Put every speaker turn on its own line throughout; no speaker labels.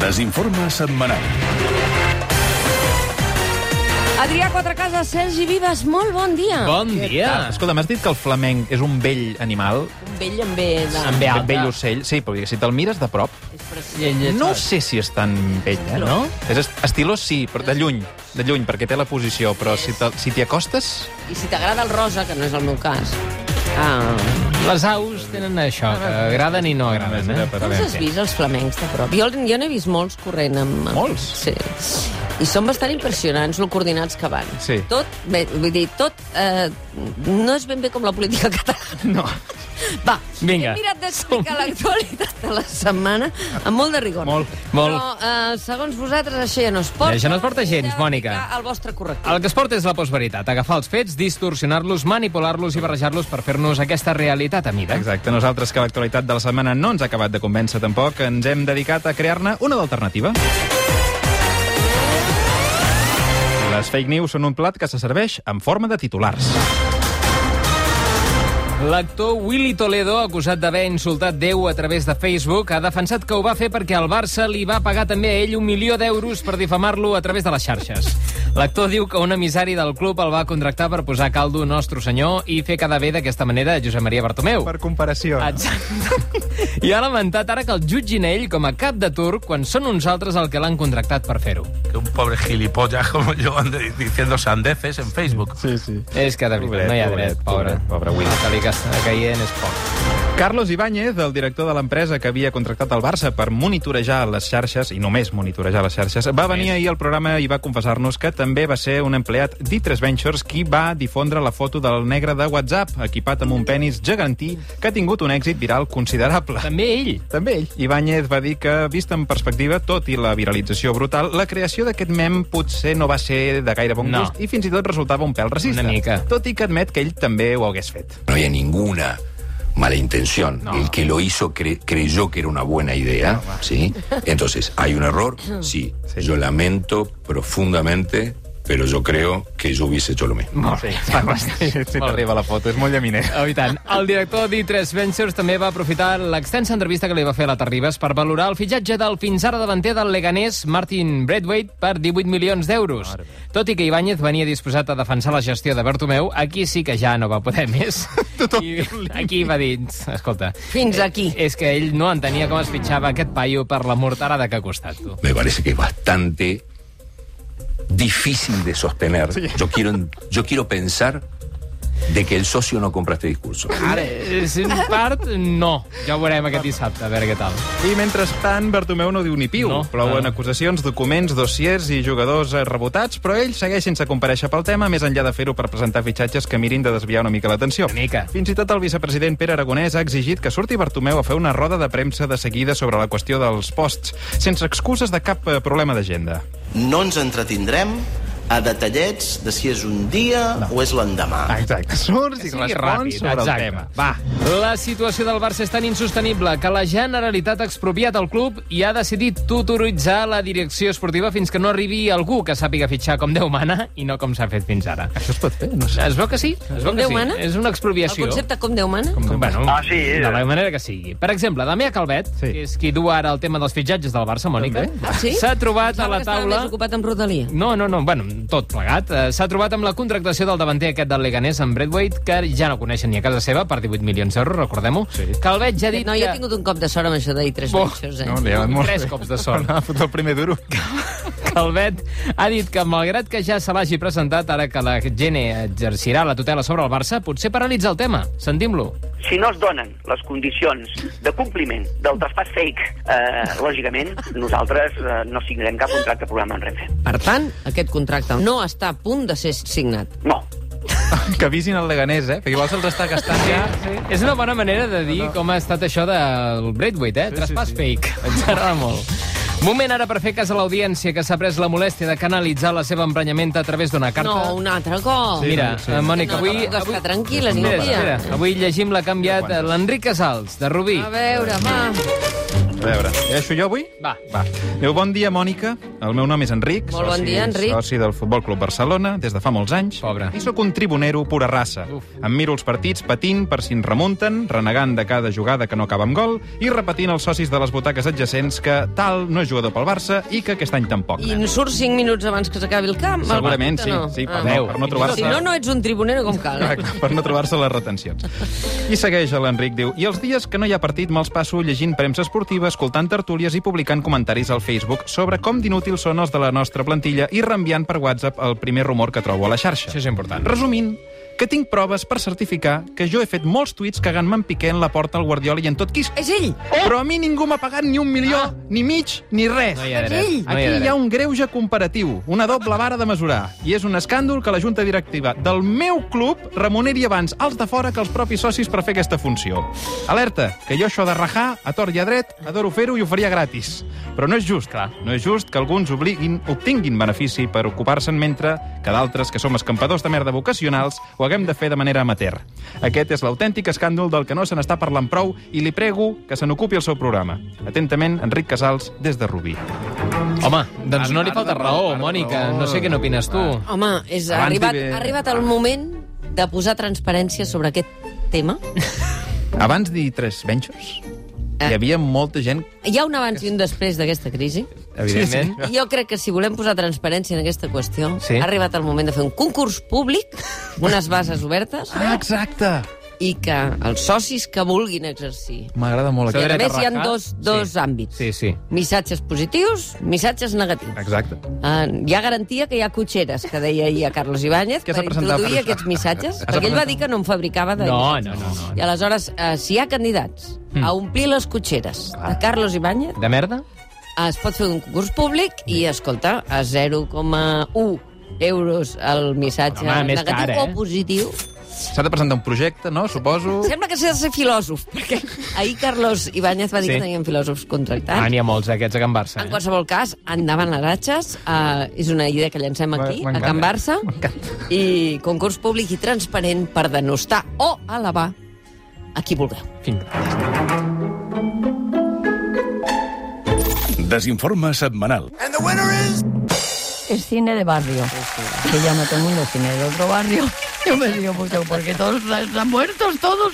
Desinforme setmanal.
Adrià Quatrecases, Sergi Vives, molt bon dia.
Bon
Ah, Què
dia.
tal? Escolta, m'has dit que el flamenc és un vell animal,
Un vell amb ve de...
Amb ve
un
alta.
Ah. vell ocell. Sí, però si te'l mires de prop,
És preciós.
Llengets,
no sé si és tan vell, eh?
No?
És est- estilós, sí, però de lluny, de lluny, perquè té la posició, però si te- si t'hi acostes...
I si t'agrada el rosa, que no és el meu cas... Ah.
Les aus tenen això, que agraden i no agraden, eh?
Tu els has vist, els flamencs, de prop? Jo, jo n'he vist molts corrent amb... amb-
Molts?
Sí. I són bastant impressionants, lo coordinats que van.
Sí.
Tot, bé, vull dir, tot... Eh, no és ben bé com la política catalana.
No.
Va,
Vinga.
he mirat d'explicar l'actualitat de la setmana amb molt de rigor.
Molt,
molt.
Però, eh, segons vosaltres, això ja no es porta.
Això no es porta gens,
Heu de
Mònica.
aplicar El vostre correctiu.
El que es porta és la postveritat, agafar els fets, distorsionar-los, manipular-los i barrejar-los per fer-nos aquesta realitat a mida.
Exacte, nosaltres que l'actualitat de la setmana no ens ha acabat de convèncer tampoc, ens hem dedicat a crear-ne una d'alternativa. Les fake news són un plat que se serveix en forma de titulars.
L'actor Willy Toledo, acusat d'haver insultat Déu a través de Facebook, ha defensat que ho va fer perquè el Barça li va pagar també a ell un milió d'euros per difamar-lo a través de les xarxes. L'actor diu que un emissari del club el va contractar per posar caldo Nostre Senyor i fer quedar bé d'aquesta manera a Josep Maria Bartomeu.
comparació.
Exacte. I ha lamentat ara que el jutgin a ell com a cap de turc quan són uns altres el que l'han contractat per fer-ho.
que un pobre gilipollas como yo ande diciendo sandeces en Facebook.
És que, de veritat, no hi ha dret, pobre.
pobret, pobre Will.
El que li està caient és poc.
Carlos Ibáñez, el director de l'empresa que havia contractat el Barça per monitorejar les xarxes, i només monitorejar les xarxes, va venir ahir al programa i va confessar-nos que també va ser un empleat d'I3 Ventures qui va difondre la foto del negre de WhatsApp, equipat amb un penis gegantí, que ha tingut un èxit viral considerable.
També ell.
També ell. Ibáñez va dir que, vist en perspectiva, tot i la viralització brutal, la creació d'aquest mem potser no va ser de gaire bon
No.
gust i fins i tot resultava un pèl racista.
Una mica.
Tot i que admet que ell també ho hagués fet.
No había ninguna mala intención. El que lo hizo cre- creyó que era una buena idea, ¿sí? Entonces, ¿hay un error? Sí. Yo lamento profundamente, pero yo creo que yo hubiese hecho lo mismo.
Molt bé.
Ah, Sí, sí, t'arriba la foto, és molt llaminer.
Oh, i tant. El director d'I3 Ventures també va aprofitar l'extensa entrevista que li va fer la Terribas per valorar el fitxatge del fins ara davanter del leganés Martin Braithwaite per 18 milions d'euros. Tot i que Ibáñez venia disposat a defensar la gestió de Bertomeu, aquí sí que ja no va poder més. I aquí va dir, escolta,
Fins aquí.
Eh, és que ell no entenia com es fitxava aquest paio per la mortarada que ha costat, tu.
Me parece que es bastante difícil de sostener. Yo, quiero, yo quiero pensar de que el socio no compra este discurso.
Ara, és en part, no. Ja ho veurem aquest dissabte, a veure què tal.
I mentrestant, Bartomeu no diu ni piu. No,
No.
Plouen
Ah.
acusacions, documents, dossiers i jugadors eh, rebotats, però ell segueix sense compareixer pel tema, més enllà de fer-ho per presentar fitxatges que mirin de desviar una mica l'atenció.
Una mica.
Fins i tot el vicepresident Pere Aragonès ha exigit que surti Bartomeu a fer una roda de premsa de seguida sobre la qüestió dels posts, sense excuses de cap eh, problema d'agenda.
no ens entretindrem a detallets de si és un dia no. o és l'endemà.
Ah, Exacte. Surts i respons sobre el tema.
Va. La situació del Barça és tan insostenible que la Generalitat ha expropiat el club i ha decidit tutoritzar la direcció esportiva fins que no arribi algú que sàpiga fitxar com Déu mana i no com s'ha fet fins ara.
Això es pot fer? No sé.
Es veu que sí. Es veu
Com
que
Déu
eh, sí. oh.
mana?
És una
El
expropiació.
concepte com Déu mana? Com...
Bueno,
Ah, sí, eh.
de la manera que sigui. Per exemple, Damià Calvet,
Sí.
sí. que és qui du ara el tema dels fitxatges del Barça, Mònica,
Ah, sí?
s'ha trobat a la
Estava
taula...
més ocupat amb Rodalia.
No, no, no, bueno, tot plegat. Eh, S'ha trobat amb la contractació del davanter aquest del Leganés, en Bradwaite, que ja no coneixen ni a casa seva, per 18 milions d'euros, recordem-ho. Sí. Calvet ja ha dit
No, jo he
que...
tingut un cop de sort amb això d'ahir, tres
Bo,
matxos, eh?
No, li ha anat molt
Tres
bé.
cops de sort.
Anava a fotre el primer duro.
Calvet ha dit que, malgrat que ja se l'hagi presentat, ara que la Gene exercirà la tutela sobre el Barça, potser paralitza el tema. Sentim-lo.
Si no es donen les condicions de compliment del traspàs fake, eh, lògicament, nosaltres eh, no signarem cap contracte programa amb Renfe.
Per tant, aquest contracte no està a punt de ser signat.
No.
Que avisin el Leganés, eh? Perquè igual se'ls està gastant ja...
Sí. És una bona manera de dir com ha estat això del Braithwaite, eh? Sí, Traspàs sí, sí. fake. Ens agrada molt. Moment ara per fer cas a l'audiència que s'ha pres la molèstia de canalitzar la seva emprenyament a través d'una carta.
No, un altre cop.
Mira,
sí.
eh, Mònica,
No,
avui...
no, no,
avui...
està tranquil·la, ni un
Espera,
dia.
espera. Avui llegim l'ha canviat eh, l'Enric Casals, de Rubí.
A veure, va.
A veure, deixo jo avui?
Va.
Va. Adéu, bon dia, Mònica. El meu nom és Enric.
Molt bon
soci-
dia, Enric.
Soci del Futbol Club Barcelona des de fa molts anys.
Pobre.
I sóc un tribunero pura raça.
Uf.
Em miro els partits patint per si en remunten, renegant de cada jugada que no acaba amb gol i repetint als socis de les butaques adjacents que tal no és jugador pel Barça i que aquest any tampoc.
I surt 5 minuts abans que s'acabi el camp? el
Segurament,
partit,
sí,
o
sí, per,
Ah.
no, per no trobar-se...
Si no, no ets un tribunero com cal. Eh?
Correcte, per no trobar-se les retencions. I segueix l'Enric, diu... I els dies que no hi ha partit me'ls passo llegint premsa esportiva, escoltant tertúlies i publicant comentaris al Facebook sobre com d'inútils són els de la nostra plantilla i reenviant per WhatsApp el primer rumor que trobo a la xarxa.
Això és important.
Resumint, que tinc proves per certificar que jo he fet molts tuits cagant-me en Piqué en la porta al Guardiola i en tot qui...
És ell!
Però a mi ningú m'ha pagat ni un milió, ni mig, ni res.
No hi ha dret.
Ell!
No hi ha
Aquí hi ha
dret.
un greuge comparatiu, una doble vara de mesurar. I és un escàndol que la junta directiva del meu club remuneri abans els de fora que els propis socis per fer aquesta funció. Alerta, que jo això de rajar, a tort i a dret, adoro fer-ho i ho faria gratis. Però no és just, clar. No és just que alguns obliguin, obtinguin benefici per ocupar-se'n mentre que d'altres, que som escampadors de merda vocacionals, ho haguem de fer de manera amateur. Aquest és l'autèntic escàndol del que no se n'està parlant prou i li prego que se n'ocupi el seu programa. Atentament, Enric Casals, des de Rubí.
Home, doncs no li falta raó, Mònica. No sé què n'opines tu.
Home, és ha
Abans
arribat,
i bé.
ha arribat el moment de posar transparència sobre aquest tema.
Abans d'hi tres ventures,
Eh.
hi havia molta gent...
Hi ha un abans i un després d'aquesta crisi.
Evidentment.
I Jo crec que si volem posar transparència en aquesta qüestió,
Sí.
ha arribat el moment de fer un concurs públic, unes bases obertes,
Ah, exacte!
i que els socis que vulguin exercir...
M'agrada molt
I
S'ha
aquest.
a
dret a
més hi ha
rajar?
dos, dos
Sí.
àmbits.
Sí, sí.
Missatges positius, missatges negatius.
Exacte.
Uh, hi ha garantia que hi ha cotxeres, que deia ahir a Carlos Ibáñez,
Que
per
s'ha presentat
introduir
per això.
aquests missatges,
S'ha
perquè ell va
presentat.
dir que no en fabricava de
No,
missatges.
no, no, no. Hmm.
I aleshores, eh, si hi ha candidats a omplir les cotxeres de Carlos Ibáñez,
De merda?
es pot fer un concurs públic i, escolta, a 0,1 euros el missatge
Home, més
negatiu
car, eh?
o positiu.
S'ha de presentar un projecte, no? Suposo...
Sembla que s'ha de ser filòsof, perquè ahir Carlos Ibáñez va dir
Sí.
que tenien filòsofs contractats.
Ah, n'hi ha molts d'aquests a Can Barça.
En
Eh?
qualsevol cas, endavant les ratxes. Uh, és una idea que llancem aquí, a
M'encanta.
Can Barça. I concurs públic i transparent per denostar o elevar a qui vulgueu.
Fins.
Desinforme setmanal.
es cine de barrio. Se llama todo el mundo cine de otro barrio. Yo me digo mucho porque todos están muertos, todos.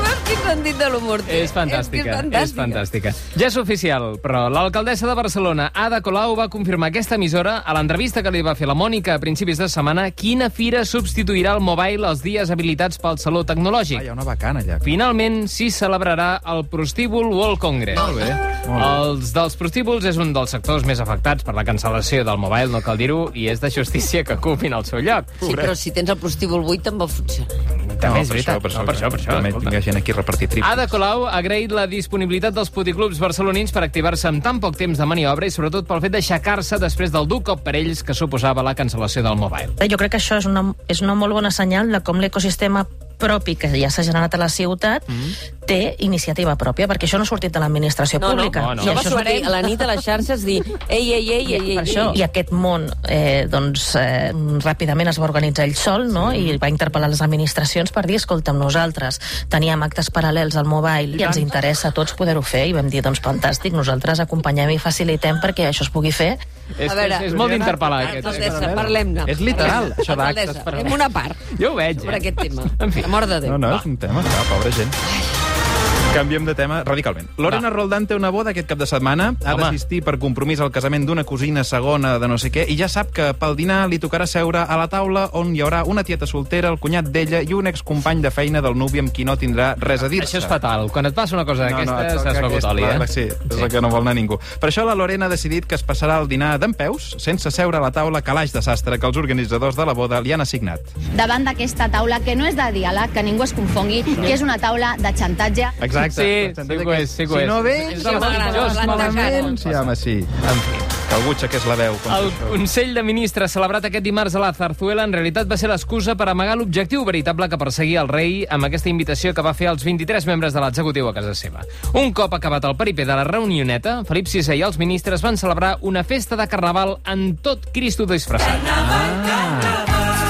Veus quin sentit de l'humor té?
És fantàstica,
És,
és fantàstica. Ja és oficial, però l'alcaldessa de Barcelona, Ada Colau, va confirmar aquesta emissora a l'entrevista que li va fer la Mònica a principis de setmana quina fira substituirà el Mobile els dies habilitats pel Saló
Ah,
Tecnològic.
hi ha una bacana allà.
Finalment s'hi celebrarà el Prostíbul World Congress. Molt bé. Els dels prostíbuls és un dels sectors més afectats per la cancel·lació del Mobile, no cal dir-ho, i és de justícia que ocupin el seu lloc.
Sí, però si tens el prostíbul buit també funciona.
També és veritat. No, per això, per això.
També
escolta.
tinc gent aquí a repartir trips.
Ada Colau ha agraït la disponibilitat dels puticlubs barcelonins per activar-se amb tan poc temps de maniobra i sobretot pel fet d'aixecar-se després del dur cop per ells que suposava la cancel·lació del Mobile.
Eh, Jo crec que això és una, és una molt bona senyal de com l'ecosistema propi que ja s'ha generat a la ciutat mm. té iniciativa pròpia, perquè això no ha sortit de l'administració
No, no,
pública.
no, no.
I
Jo va
això és-
sortir a la nit a les xarxes dir ei, ei, ei, ei, ei,
per això.
ei.
I aquest món eh, doncs, eh, ràpidament es va organitzar ell sol no? i va interpel·lar les administracions per dir, escolta'm, nosaltres teníem actes paral·lels al mobile i ens interessa a tots poder-ho fer i vam dir, doncs fantàstic, nosaltres acompanyem i facilitem perquè això es pugui fer.
És,
A veure,
és, és molt d'interpel·lar, aquest. eh?
Alcaldessa, parlem-ne.
És literal,
Alcaldessa,
això d'actes
alcaldessa,
paral·lels.
Fem una part
Jo ho veig,
sobre
eh?
aquest tema.
En fi.
Per amor de Déu.
No, no, és un tema, clar, pobra Ah, gent. Canviem de tema radicalment.
Va.
Lorena Roldán té una boda aquest cap de setmana, ha
Home.
d'assistir per compromís al casament d'una cosina segona de no sé què, i ja sap que pel dinar li tocarà seure a la taula on hi haurà una tieta soltera, el cunyat d'ella i un excompany de feina del nuvi amb qui no tindrà res a dir-se.
Això és fatal. Quan et passa una cosa d'aquestes, no, no, has begut oli, eh?
Sí, és el que no vol anar ningú. Per això la Lorena ha decidit que es passarà el dinar d'en peus, sense seure a la taula calaix de sastre que els organitzadors de la boda li han assignat.
davant d'aquesta taula que no és de diàleg, que ningú es confongui, que és una taula de xantatge.
Exacte. Doncs
Sí, sí que ho és, sí que ho
si
és.
no
És
vens,
de les
m'agrada,
pitjors,
m'agrada.
malament.
sí, home, sí. En fi, que algú aixequés la veu. Com
El
el...
Consell de Ministres celebrat aquest dimarts a la Zarzuela en realitat va ser l'excusa per amagar l'objectiu veritable que perseguia el rei amb aquesta invitació que va fer als 23 membres de l'executiu a casa seva. Un cop acabat el peripé de la reunioneta, Felip VI i els ministres van celebrar una festa de carnaval en tot Cristo disfressat.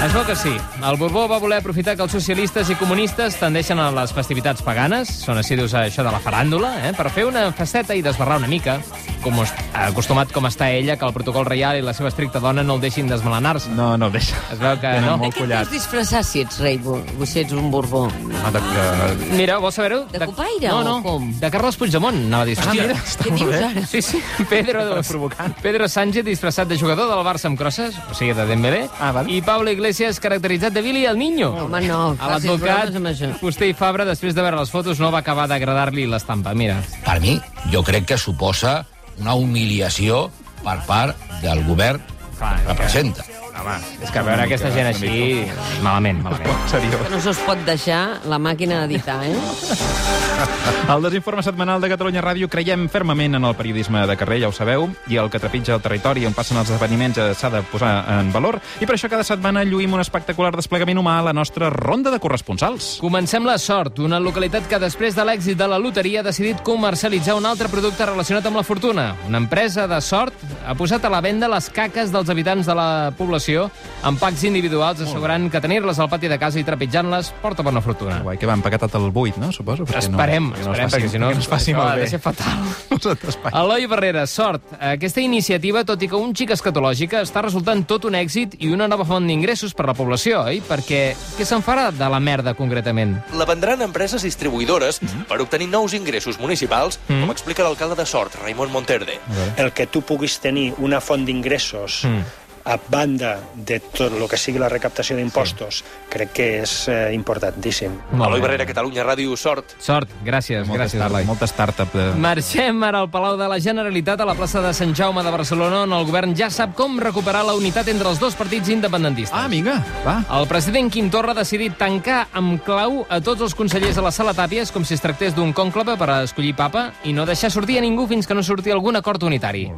Es veu que sí. El Borbó va voler aprofitar que els socialistes i comunistes tendeixen a les festivitats paganes, són assidus a això de la faràndula, eh, per fer una faceta i desbarrar una mica. com es- acostumat com està ella, que el protocol reial i la seva estricta dona no el deixin desmelenar-se.
No, no el deixa.
Es veu que
Tenen
no.
molt
Què et vols disfressar si ets rei, bo- o si ets un borbó?
No, de, de...
Mira, vols saber-ho?
De copaire
no,
o
no,
com?
De Carles Puigdemont, anava a dir.
Ah,
Hòstia,
mira, està
Què
molt
dius
bé.
ara?
Sí, sí, Pedro, dos.
Provocant.
Pedro Sánchez disfressat de jugador del Barça amb crosses, o sigui, de Dembélé,
Ah, val.
i Pablo Iglesias caracteritzat de Billy el Niño.
Home, no,
A
facis
l'advocat,
bromes amb això.
Fuster i Fabra, després de veure les fotos, no va acabar d'agradar-li l'estampa. Mira,
Per mi, jo crec que suposa una humiliació per part del govern que representa.
Home,
és que a veure aquesta gent així... Malament, malament.
Seriós.
No se'ls pot deixar la màquina d'editar, eh?
Al desinforme setmanal de Catalunya Ràdio creiem fermament en el periodisme de carrer, ja ho sabeu, i el que trepitja el territori on passen els esdeveniments eh, s'ha de posar en valor, i per això cada setmana lluïm un espectacular desplegament humà a la nostra ronda de corresponsals.
Comencem la sort, una localitat que després de l'èxit de la loteria ha decidit comercialitzar un altre producte relacionat amb la fortuna. Una empresa de sort ha posat a la venda les caques dels habitants de la població en packs individuals, assegurant que tenir-les al pati de casa i trepitjant-les porta bona fortuna.
Ah, Guai, que va empaquetat el buit, no? Suposo. Perquè
Esperem,
no,
esperem, perquè si no,
Que no es faci
això ha de
malbé.
ser Ah, fatal.
Nosaltres, pa-
Eloi Barrera, sort. Aquesta iniciativa, tot i que un xic escatològica, està resultant tot un èxit i una nova font d'ingressos per a la població, oi? Perquè què se'n farà de la merda, concretament?
La vendran empreses distribuïdores
Mhm.
per obtenir nous ingressos municipals, com explica l'alcalde de Sort, Raimon Monterde.
el que tu puguis tenir una font d'ingressos
Mm.
a banda de tot el que sigui la recaptació d'impostos, crec que és eh, importantíssim.
Molt
Eloi
bé.
Barrera, Catalunya Ràdio, Sort.
Sort, gràcies,
Molta,
gràcies,
start,
Eloi.
molta startup. De...
Marxem ara al Palau de la Generalitat, a la plaça de Sant Jaume de Barcelona, on el govern ja sap com recuperar la unitat entre els dos partits independentistes.
Ah, vinga, va.
El president Quim Torra ha decidit tancar amb clau a tots els consellers de la sala Tàpies com si es tractés d'un conclave per a escollir papa i no deixar sortir a ningú fins que no surti algun acord unitari.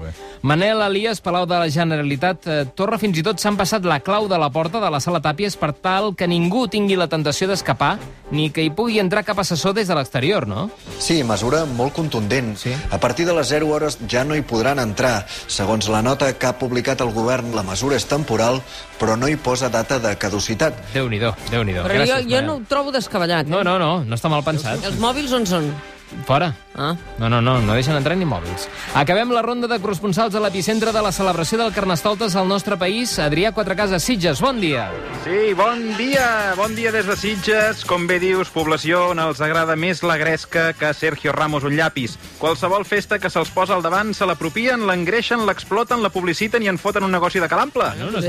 Manel Elias, Palau de la Generalitat, eh, Torra fins i tot s'han passat la clau de la porta de la sala Tàpies per tal que ningú tingui la tentació d'escapar ni que hi pugui entrar cap assessor des de l'exterior, no?
Sí, mesura molt contundent. Sí. A partir de les 0 hores ja no hi podran entrar. Segons la nota que ha publicat el govern, la mesura és temporal, però no hi posa data de caducitat.
Déu-n'hi-do, Déu-n'hi-do.
Però jo,
Gràcies,
jo
Manel.
no ho trobo descabellat. eh?
No, no, no, no està mal pensat.
Els mòbils on són?
Fora.
Ah.
No, no, no, no deixen entrar ni mòbils. Acabem la ronda de corresponsals a l'epicentre de la celebració del Carnestoltes al nostre país. Adrià Quatrecases, Sitges, bon dia.
Sí, bon dia, bon dia des de Sitges. Com bé dius, població on els agrada més la gresca que a Sergio Ramos un llapis. Qualsevol festa que se'ls posa al davant se l'apropien, l'engreixen, l'exploten, la publiciten i en foten un negoci de calample.
No, no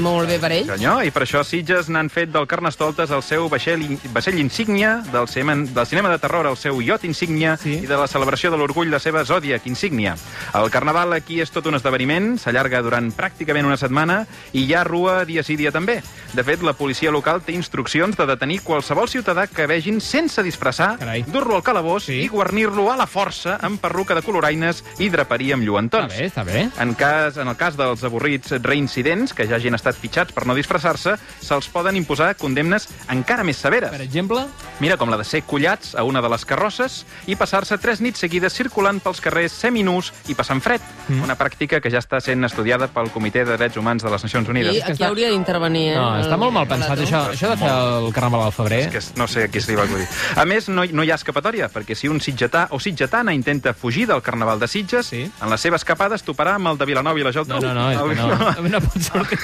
Molt bé per ell.
Senyor, i per això Sitges n'han fet del Carnestoltes el seu vaixell, vaixell insígnia, del, semen, del cinema de terror el seu iot insígnia sí. i de la celebració de l'orgull la seva zòdiac insígnia. El carnaval aquí és tot un esdeveniment, s'allarga durant pràcticament una setmana i hi ha rua dia sí dia també. De fet, la policia local té instruccions de detenir qualsevol ciutadà que vegin sense disfressar,
Carai.
dur-lo al calabós sí. i guarnir-lo a la força amb perruca de coloraines i draperia amb lluentons.
Està bé, està bé.
En, cas, en el cas dels avorrits reincidents, que ja hagin estat fitxats per no disfressar-se, se'ls poden imposar condemnes encara més severes.
Per exemple,
Mira com la de ser collats a una de les carrosses i passar-se tres nits seguides circulant pels carrers seminús i passant fred, mm. una pràctica que ja està sent estudiada pel Comitè de Drets Humans de les Nacions Unides.
I aquí hauria d'intervenir, eh?
no, està molt mal
el
pensat
relator.
això, això de fer el carnaval al febrer.
que es- no sé a qui es li va acudir. A més, no, hi- no hi ha escapatòria, perquè si un sitgetà o sitgetana intenta fugir del Carnaval de Sitges, sí. en la seva escapada es toparà amb el de Vilanova i la Geltrú.
No, no, no, és que no, no pot sortir.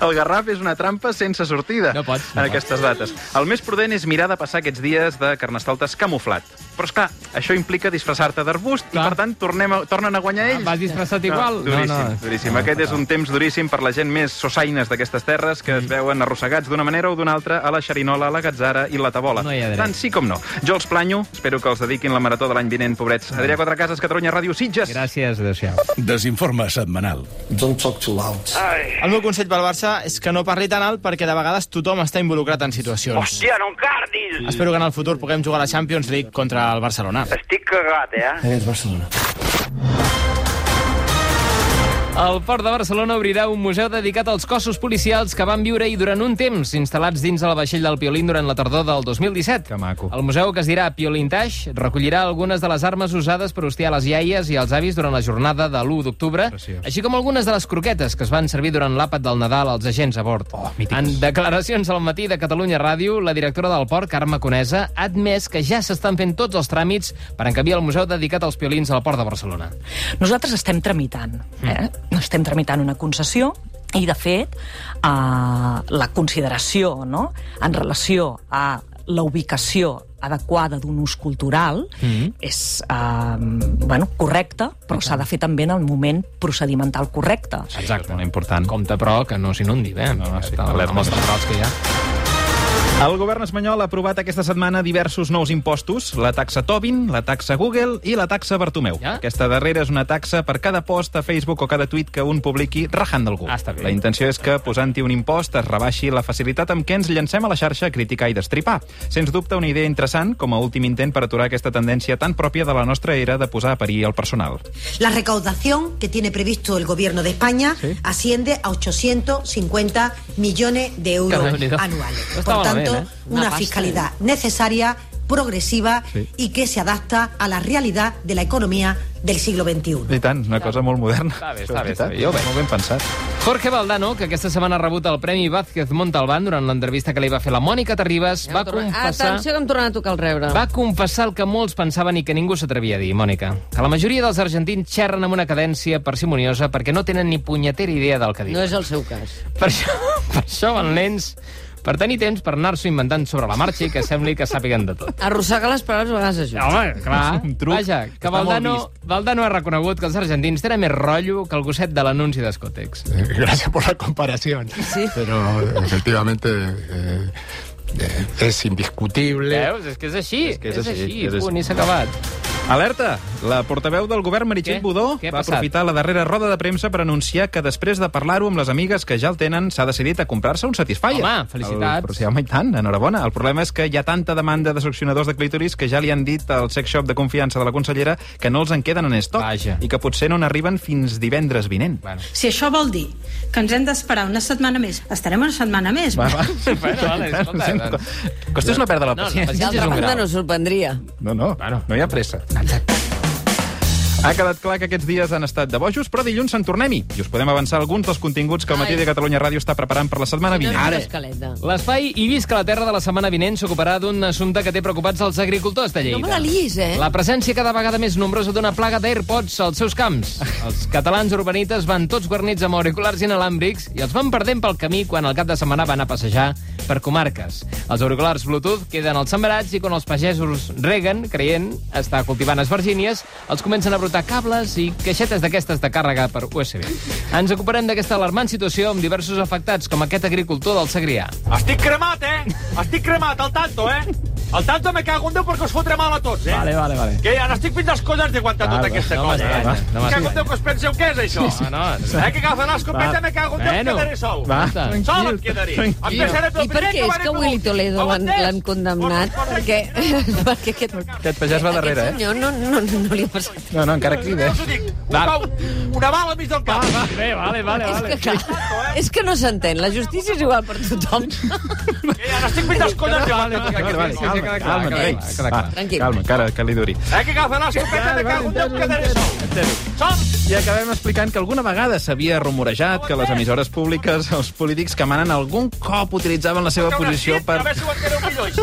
El Garraf és una trampa sense sortida
No pots, no
en aquestes dates. El més prudent és mirar de passar aquests dies de carnestoltes camuflat. Però, esclar, això implica disfressar-te d'arbust i, per tant, tornem a, tornen a guanyar ells.
Ah, Vas disfressat igual? Ah,
No, duríssim, no, no. duríssim. Aquest és un temps duríssim per la gent més sosaines d'aquestes terres que es veuen arrossegats d'una manera o d'una altra a la xerinola, a la gatzara i la tabola.
No hi ha dret.
tant sí com no. Jo els planyo, espero que els dediquin la marató de l'any vinent, pobrets. Adrià Quatrecases, Catalunya Ràdio Sitges.
Ah. Gràcies, adéu-siau.
Desinforme setmanal.
Don't talk too loud.
El meu consell pel Barça és que no parli tan alt perquè de vegades tothom està involucrat en
Doncs-
situacions.
Hòstia, no encardis!
Espero que en el futur puguem jugar a la Champions League contra el Barcelona.
Estic cagat, eh?
Eres Barcelona.
El Port de Barcelona obrirà un museu dedicat als cossos policials que van viure-hi durant un temps, instal·lats dins el vaixell del Piolín durant la tardor del 2017. Que maco. El museu, que es dirà Piolintage, recollirà algunes de les armes usades per hostiar les iaies i els avis durant la jornada de l'1 d'octubre, així com algunes de les croquetes que es van servir durant l'àpat del Nadal als agents a bord. Oh, en declaracions al matí de Catalunya Ràdio, la directora del Port, Carme Conesa, ha admès que ja s'estan fent tots els tràmits per encabir el museu dedicat als piolins al Port de Barcelona.
Nosaltres estem tramitant, eh? estem tramitant una concessió i, de fet, eh, la consideració no? en relació a la ubicació adequada d'un ús cultural
Mhm.
és eh, bueno, correcta, però s'ha de fer també en el moment procedimental correcte.
Exacte. Molt important. Compte, però, que no s'inundi, eh? No, no, sí, amb els temporals que hi ha.
El govern espanyol ha aprovat aquesta setmana diversos nous impostos, la taxa Tobin, la taxa Google i la taxa Bartomeu. Ja? Aquesta darrera és una taxa per cada post a Facebook o cada tuit que un publiqui rajant d'algú. Ah, la intenció és que, posant-hi un impost, es rebaixi la facilitat amb què ens llancem a la xarxa a criticar i destripar. Sens dubte, una idea interessant com a últim intent per aturar aquesta tendència tan pròpia de la nostra era de posar a perill el personal.
La recaudación que tiene previsto el gobierno de España asciende a 850 millones de euros
Qué barbaridad.
anuales.
No estaba
Por tanto,
mal, ¿eh?
una,
Una pasta,
fiscalidad necesaria, progresiva
Sí.
y que se adapta a la realidad de la economía del siglo XXI.
I tant, una cosa molt moderna.
Està bé,
Això
està
és
bé, està bé.
veritat. Molt ben pensat.
Jorge Valdano, que aquesta setmana ha rebut el Premi Vázquez Montalbán durant l'entrevista que li va fer la Mònica Terribas, va confessar...
Atenció que em torna a tocar el rebre.
Va confessar el que molts pensaven i que ningú s'atrevia a dir, Mònica. Que la majoria dels argentins xerren amb una cadència parsimoniosa perquè no tenen ni punyetera idea del que
No
diuen.
és el seu cas.
Per això, per això van lents, per tenir temps per anar-s'ho inventant sobre la marxa i que sembli que sàpiguen de tot.
Arrossegar les paraules a vegades ajuda.
Home, clar. Un truc. Vaja, que
Està molt
Valdano, Valdano ha reconegut que els argentins tenen més rotllo que el gosset de l'anunci d'Escotex.
Gracias por Eh, la comparación. Pero efectivamente eh, eh, es indiscutible.
Veus? És que és així. És,
que és així, és
així.
així.
Punt, i s'ha acabat.
Alerta! La portaveu del govern, Meritxell
Què?
Budó,
Què ha
va
passat?
aprofitar la darrera roda de premsa per anunciar que després de parlar-ho amb les amigues que ja el tenen, s'ha decidit a comprar-se un Satisfyer.
Home, felicitats.
El, però sí, home, i tant, enhorabona. El problema és que hi ha tanta demanda de succionadors de clítoris que ja li han dit al sex shop de confiança de la consellera que no els en queden en estoc Vaja. i que potser no n'arriben fins divendres vinent. Bueno.
Si això vol dir que ens hem d'esperar una setmana més, estarem una setmana més.
Va, va.
Bueno, vale, escolta, doncs.
Costa és no perdre la
No,
paciència.
D'altra banda, no sorprendria.
No, no, bueno. no hi ha pressa. Ha quedat clar que aquests dies han estat de bojos, però dilluns en tornem-hi. I us podem avançar alguns dels continguts que el Matí de Catalunya Ràdio està preparant per la setmana vinent.
Escaleta.
L'espai i visca la terra de la setmana vinent s'ocuparà d'un assumpte que té preocupats els agricultors de Lleida.
No me la liis, eh?
La presència cada vegada més nombrosa d'una plaga d'AirPods als seus camps. Els catalans urbanites van tots guarnits amb auriculars inalàmbrics i els van perdent pel camí quan el cap de setmana van a passejar per comarques. Els auriculars Bluetooth queden als sembrats i quan els pagesos reguen, creient estar cultivant esvergínies, els comencen a brotar cables i caixetes d'aquestes de càrrega per USB. Ens ocuparem d'aquesta alarmant situació amb diversos afectats, com aquest agricultor del Segrià.
Estic cremat, eh? Estic cremat, al tanto, eh? Al tanto me cago en Déu perquè us fotré mal a tots, eh?
Vale, vale, vale.
Que ara estic fins les colles d'aguantar
Va,
tota
va,
Ah,
aquesta
no
cosa, eh?
m'estranyi, no
me cago
m'estranyi.
en Déu que us penseu què és, això?
Sí, sí. No, no.
Eh, que agafen l'escopeta,
Va.
me cago en Déu,
Bueno.
em quedaré sol.
Va,
Sol
tranquil,
em quedaré.
tranquil.
Empezaré pel
I per
primer
què
que acabaré
és que
pel
Willy
últim.
Toledo l'han l'han condemnat? Perquè, perquè aquest,
Aquest pagès va darrere, eh?
senyor no, no, no li ha passat
No, no, encara eh? crida.
Us ho dic, un cau, una bala mig del cap. Va, va.
Bé, vale, vale,
vale.
que clar, és que no s'entén. La justícia és igual per tothom.
Ara estic fins les colles
Vale,
d'aguantar.
vale, calma, calma, calma,
Eh,
calma, calma,
Tranquil.
calma, cara, que li duri.
que agafen l'escopeta, me cago en Déu, em quedaré sol.
I acabem explicant que alguna vegada s'havia rumorejat que les emissores públiques, els polítics que manen algun cop utilitzaven la seva posició per...
A veure si ho enteneu millor així.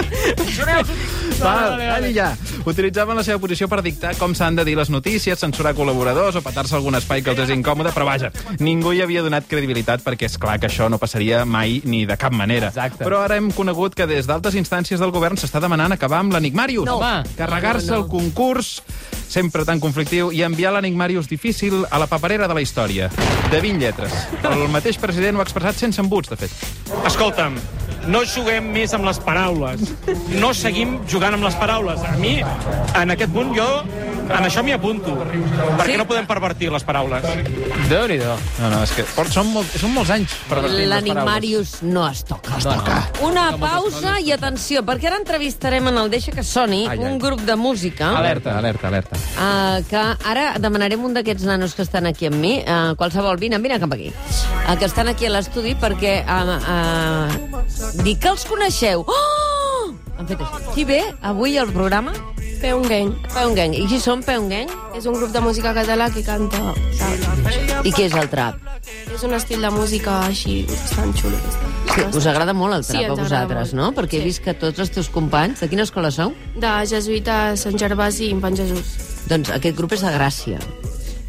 Si no, ja us ho dic.
Val, calli ja. Utilitzaven la seva posició per dictar com s'han de dir les notícies, censurar col·laboradors o petar-se algun espai que els és incòmode, però vaja, ningú hi havia donat credibilitat perquè és clar que això no passaria mai ni de cap manera. Exacte. Però ara hem conegut que des d'altes instàncies del govern s'està demanant acabar amb l'Enigmarius.
No. Home.
Carregar-se
No, no.
el concurs sempre tan conflictiu, i enviar l'Enigmarius difícil a la paperera de la història, de 20 lletres. El mateix president ho ha expressat sense embuts, de fet.
Escolta'm, no juguem més amb les paraules. No seguim jugant amb les paraules. A mi, en aquest punt, jo
En això m'hi apunto, perquè no podem pervertir les paraules.
déu nhi No,
no, és que port, són, molt, són molts anys per
L'animarius no es toca. No es toca. Una pausa i atenció, perquè ara entrevistarem en el Deixa que soni
Ai, ai.
un grup de música
Alerta, alerta, alerta.
eh, que ara demanarem un d'aquests nanos que estan aquí amb mi, eh, qualsevol, vine, vine cap aquí, eh, que estan aquí a l'estudi perquè eh, eh, dic que els coneixeu. Oh! Han fet així. Qui ve avui al programa? Peu un gang. Peu un gang. I qui són Peu un gang?
És un grup de música català que canta trap.
I què és el trap?
És un estil de música així bastant xulo. que està.
Sí, us agrada molt el
Sí,
trap
ens
a
agrada
vosaltres, no? Perquè he vist que tots els teus companys... De quina escola sou?
De jesuïta Sant Gervasi i Infant Jesús.
Doncs aquest grup és de Gràcia.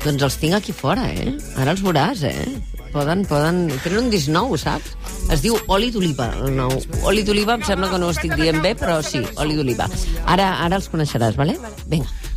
Doncs els tinc aquí fora, eh? Ara els veuràs, eh? Poden, poden... Tenen un disc nou, saps? Es diu Oli d'Oliva, el nou. Oli d'Oliva, em sembla que no ho estic dient bé, però sí, Oli d'Oliva. Ara, ara els coneixeràs, vale? Vinga.